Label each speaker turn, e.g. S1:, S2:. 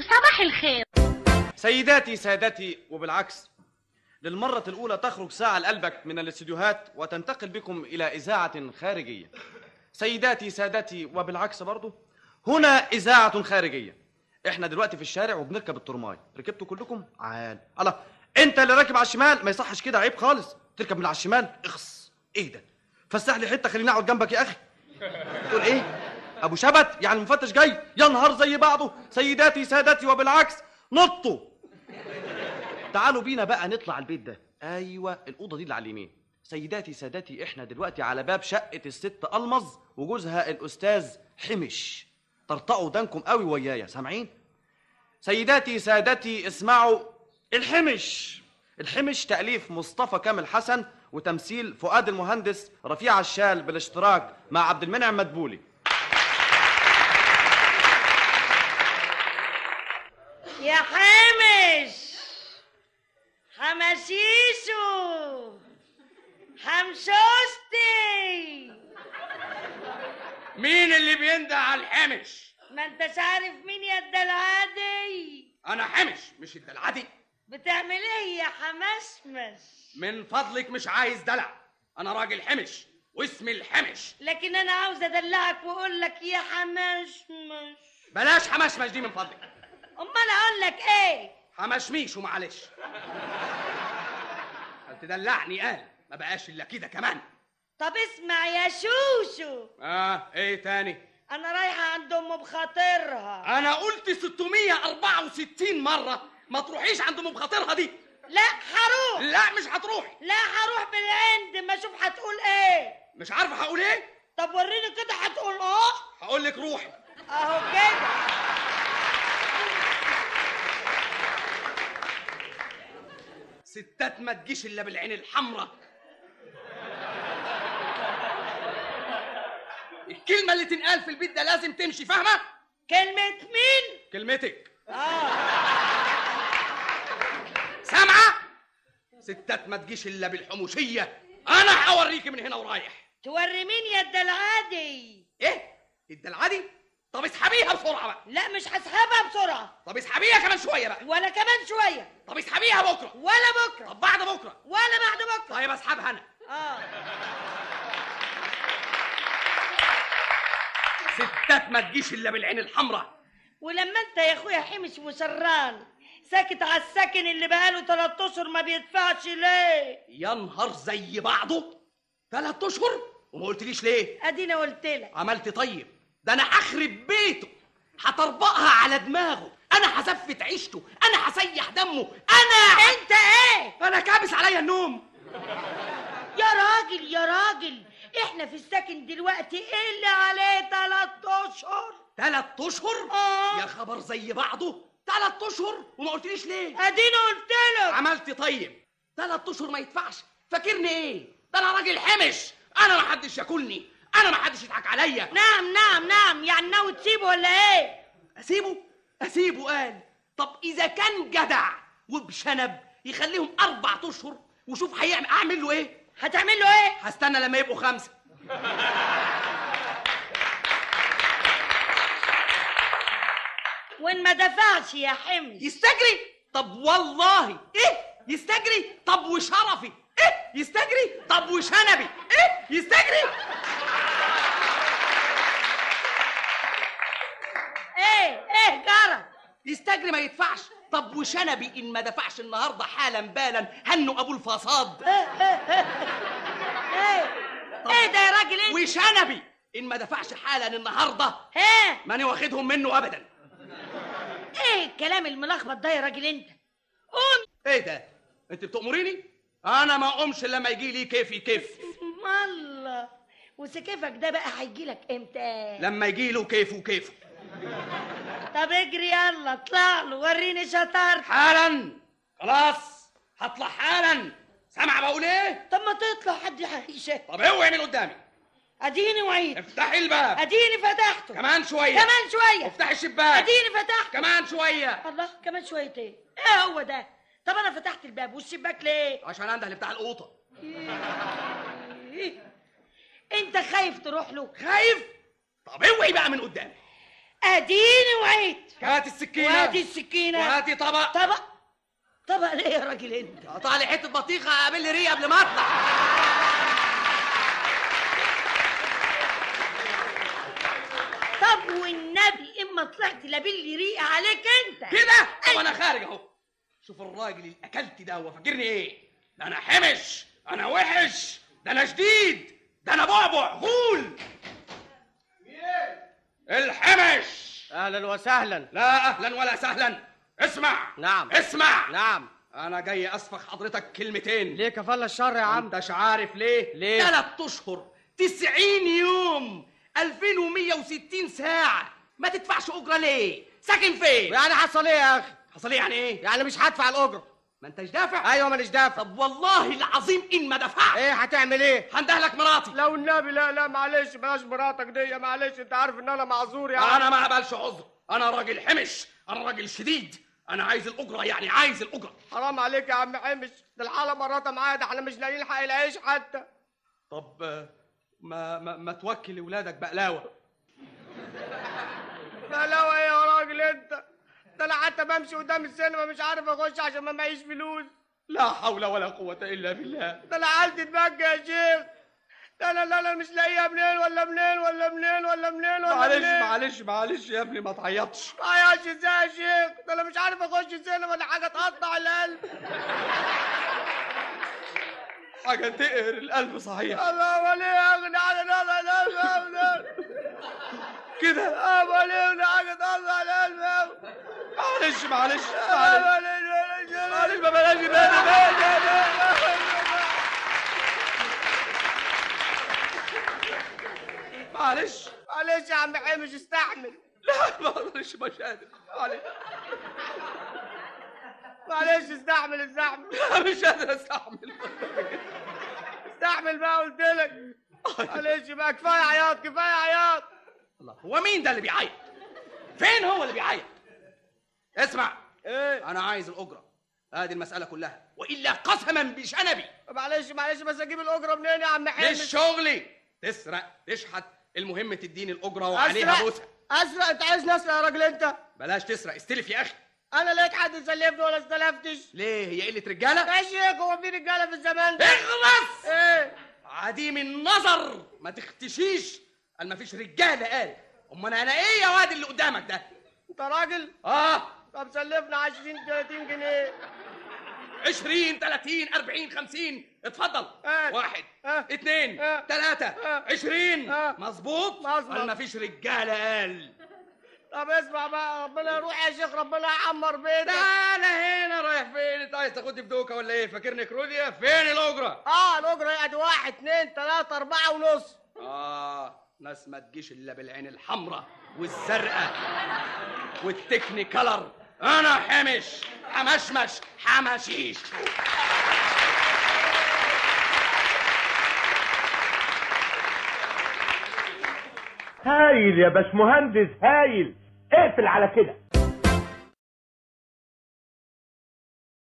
S1: صباح الخير
S2: سيداتي سادتي وبالعكس للمرة الأولى تخرج ساعة لقلبك من الاستديوهات وتنتقل بكم إلى إذاعة خارجية سيداتي سادتي وبالعكس برضه هنا إذاعة خارجية احنا دلوقتي في الشارع وبنركب الترماي ركبتوا كلكم عال الله انت اللي راكب على الشمال ما يصحش كده عيب خالص تركب من على الشمال اخص ايه ده فسح لي حته خليني اقعد جنبك يا اخي تقول ايه ابو شبت يعني المفتش جاي يا نهار زي بعضه سيداتي سادتي وبالعكس نطوا تعالوا بينا بقى نطلع على البيت ده ايوه الاوضه دي اللي على اليمين سيداتي سادتي احنا دلوقتي على باب شقه الست المز وجوزها الاستاذ حمش طرطقوا ودانكم قوي ويايا سامعين سيداتي سادتي اسمعوا الحمش الحمش تأليف مصطفى كامل حسن وتمثيل فؤاد المهندس رفيع الشال بالاشتراك مع عبد المنعم مدبولي
S3: يا حامش حماسيسو حمسوستي
S4: مين اللي بينده على الحمش؟
S3: ما انتش عارف مين يا الدلعه دي
S4: أنا حمش مش الدلع دي
S3: بتعمل ايه يا حمسمس
S4: من فضلك مش عايز دلع أنا راجل حمش واسمي الحمش
S3: لكن انا عاوز ادلعك واقول لك يا حمسمس
S4: بلاش حمشمش دي من فضلك
S3: امال اقول لك ايه
S4: حمشميش ومعلش هل تدلعني قال ما بقاش إلا كده كمان
S3: طب اسمع يا شوشو
S4: آه إيه تاني؟
S3: انا رايحه عند ام بخاطرها
S4: أنا قلت 664 مرة ما تروحيش عند أم بخاطرها دي
S3: لا هروح
S4: لا مش هتروحي
S3: لا هروح بالعند ما اشوف هتقول ايه
S4: مش عارفة هقول إيه؟
S3: طب وريني كده هتقول اه
S4: هقول لك روحي
S3: اهو كده
S4: ستات ما تجيش الا بالعين الحمراء الكلمه اللي تنقال في البيت ده لازم تمشي فاهمه
S3: كلمة مين؟
S4: كلمتك
S3: اه
S4: سامعه ستات ما تجيش الا بالحموشيه انا هوريكي من هنا ورايح
S3: توري مين يا الدلعة دي؟
S4: ايه الدلعه دي طب اسحبيها بسرعه بقى
S3: لا مش هسحبها بسرعة
S4: طب اسحبيها كمان شويه بقى
S3: ولا كمان شوية
S4: طب اسحبيها بكره
S3: ولا بكرة
S4: طب بعد بكره
S3: ولا بعد بكرة
S4: طيب اسحبها انا
S3: اه
S4: ستات ما تجيش الا بالعين الحمراء
S3: ولما انت يا اخويا حمش وسران ساكت على الساكن اللي بقاله تلات اشهر ما بيدفعش ليه؟
S4: يا نهار زي بعضه ثلاث اشهر وما قلتليش ليه
S3: ادينا قلت لك
S4: عملت طيب ده انا هخرب بيته هطربقها على دماغه انا هزفت عيشته انا هسيح دمه انا
S3: انت ايه؟
S4: انا كابس عليا النوم
S3: يا راجل يا راجل احنا في السكن دلوقتي ايه اللي عليه تلات اشهر
S4: تلات اشهر
S3: آه.
S4: يا خبر زي بعضه تلات اشهر وما قلتليش ليه
S3: اديني قلت لك
S4: عملت طيب تلات اشهر ما يدفعش فاكرني ايه ده انا راجل حمش انا ما حدش ياكلني انا ما حدش يضحك عليا
S3: نعم نعم نعم يعني ناوي تسيبه ولا ايه
S4: اسيبه اسيبه قال طب اذا كان جدع وبشنب يخليهم اربع اشهر وشوف هيعمل اعمل له ايه
S3: هتعمل له ايه
S4: هستنى لما يبقوا خمسة
S3: وان ما دفعش يا حمل
S4: يستجري طب والله ايه يستجري طب وشرفي ايه يستجري طب وشنبي ايه يستجري
S3: ايه ايه جرى
S4: يستجري ما يدفعش طب وشنبي ان ما دفعش النهارده حالا بالا هنوا ابو الفصاد
S3: ايه ايه ده يا راجل انت
S4: وشنبي ان ما دفعش حالا النهارده
S3: ها
S4: ماني واخدهم منه ابدا
S3: ايه الكلام الملخبط ده يا راجل انت قوم
S4: ايه ده انت بتأمريني انا ما اقومش الا لما يجي لي كيفي كيف
S3: اسم الله وسكيفك ده بقى هيجي لك امتى
S4: لما يجي له كيفه كيفه
S3: طب اجري يلا اطلع له وريني شطارتك
S4: حالا خلاص هطلع حالا سامع بقول ايه
S3: طب ما تطلع حد هيشاف
S4: طب اوعي من قدامي
S3: اديني وعيد
S4: افتحي الباب
S3: اديني فتحته
S4: كمان شويه
S3: كمان شويه
S4: افتحي الشباك
S3: اديني فتحت
S4: كمان شويه
S3: الله كمان شويه ايه ايه هو ده طب انا فتحت الباب والشباك ليه
S4: عشان انده بتاع القوطه
S3: انت إيه؟ خايف تروح له
S4: خايف طب اوعي بقى من قدامي
S3: اديني وعيت
S4: هات السكينه
S3: وادي السكينه
S4: وهاتي طبق
S3: طبق طبق ليه إيه يا راجل انت
S4: قطع لي حته بطيخه قابل لي ريه قبل ما اطلع
S3: طب والنبي اما طلعت لابلي ريقه عليك انت
S4: كده طب انا خارج اهو شوف الراجل اللي اكلت ده هو فاكرني ايه ده انا حمش انا وحش ده انا شديد ده انا بعبع غول الحمش
S1: اهلا وسهلا
S4: لا اهلا ولا سهلا اسمع
S1: نعم.
S4: اسمع
S1: نعم
S4: انا جاي اسفخ حضرتك كلمتين
S1: ليه كفل الشر يا
S4: يا
S1: عم
S4: انتش عارف ليه؟
S1: ليه؟
S4: ثلاث اشهر 90 يوم 2160 ساعة ما تدفعش أجرة ليه؟ ساكن فين؟
S1: يعني حصل ايه يا اخي
S4: حصل إيه يعني إيه؟
S1: يعني مش هدفع الاجره
S4: ما أنتش أيوة، دافع؟ إيه،
S1: ايوه مانيش دافع
S4: طب والله العظيم إن ما دفعت
S1: ايه هتعمل ايه
S4: هندهلك مراتي
S1: لو النبي لا لا معلش بلاش مراتك دي معلش انت عارف ان انا معذور يعني
S4: أنا ما أقبلش عذر أنا راجل حمش أنا راجل شديد أنا عايز الأجرة يعني عايز الأجرة
S1: حرام عليك يا عم حمش ده الحاله مراته معايا ده احنا مش لاقيين حق العيش حتى
S4: طب آه، ما ما, ما توكل لولادك بقلاوة
S1: بلاوة ايه يا راجل انت ده انا حتى بمشي قدام السينما مش عارف اخش عشان ما معيش فلوس
S4: لا حول ولا قوة إلا بالله
S1: ده انا عالتي اتبقى يا شيخ ده انا لا انا مش لاقيها منين ولا منين ولا منين ولا منين ولا
S4: معلش
S1: منين
S4: معلش معلش يا ابني ما تعيطش
S1: معياش ازاي يا شيخ ده انا مش عارف اخش السينما ولا حاجه تقطع القلب
S4: حاجة تقهر القلب صحيح
S1: الله ولي يا اخي ده انا لا لا لا لا
S4: كده
S1: اه ولي ده حاجه تقطع القلب أوي.
S4: معلش معلش
S1: آه،
S4: معلش
S1: ولي، ولي، ولي.
S4: معلش ما بلاش بلاش معلش
S1: معلش يا عم حمش استحمل
S4: لا ما اقدرش مش قادر معلش
S1: معلش استحمل الزحمه
S4: لا مش قادر استحمل
S1: استحمل بقى قلت لك معلش بقى كفايه عياط كفايه عياط
S4: الله هو مين ده اللي بيعيط فين هو اللي بيعيط اسمع
S1: ايه
S4: انا عايز الاجره هذه المساله كلها والا قسما بشنبي
S1: معلش معلش بس اجيب الاجره منين يا عم ايه،
S4: ليش
S1: حمش
S4: شغلي تسرق تشحت المهم تديني الاجره وعليها بوسه
S1: اسرق انت عايز نسرق يا راجل انت
S4: بلاش تسرق استلف يا اخي
S1: انا لقيت حد يسلفني ولا استلفتش
S4: ليه هي قله رجاله
S1: يا شيخ هو في رجاله في الزمان
S4: إيه؟
S1: ده
S4: اخلص
S1: ايه
S4: عديم النظر ما تختشيش قال مفيش رجاله قال امال انا ايه يا واد اللي قدامك ده
S1: انت راجل
S4: اه
S1: طب سلفنا 20 30 جنيه
S4: 20 30 40 50 اتفضل
S1: آه.
S4: واحد
S1: آه.
S4: اثنين
S1: آه.
S4: ثلاثة
S1: آه.
S4: 20
S1: آه.
S4: مظبوط
S1: مظبوط.
S4: قال مفيش رجالة قال
S1: طب اسمع بقى ربنا يروح يا شيخ ربنا يعمر بيتك
S4: تعالى هنا رايح فين انت عايز تاخدني بدوكة ولا ايه فاكرني كروديا فين الاجرة
S1: اه الاجره يعني واحد اتنين تلاته اربعه ونص
S4: آه ناس ما تجيش إلا بالعين الحمراء والزرقاء والتكني كلر أنا حمش حمشمش حمشيش
S5: هايل يا باشمهندس هايل اقفل على كده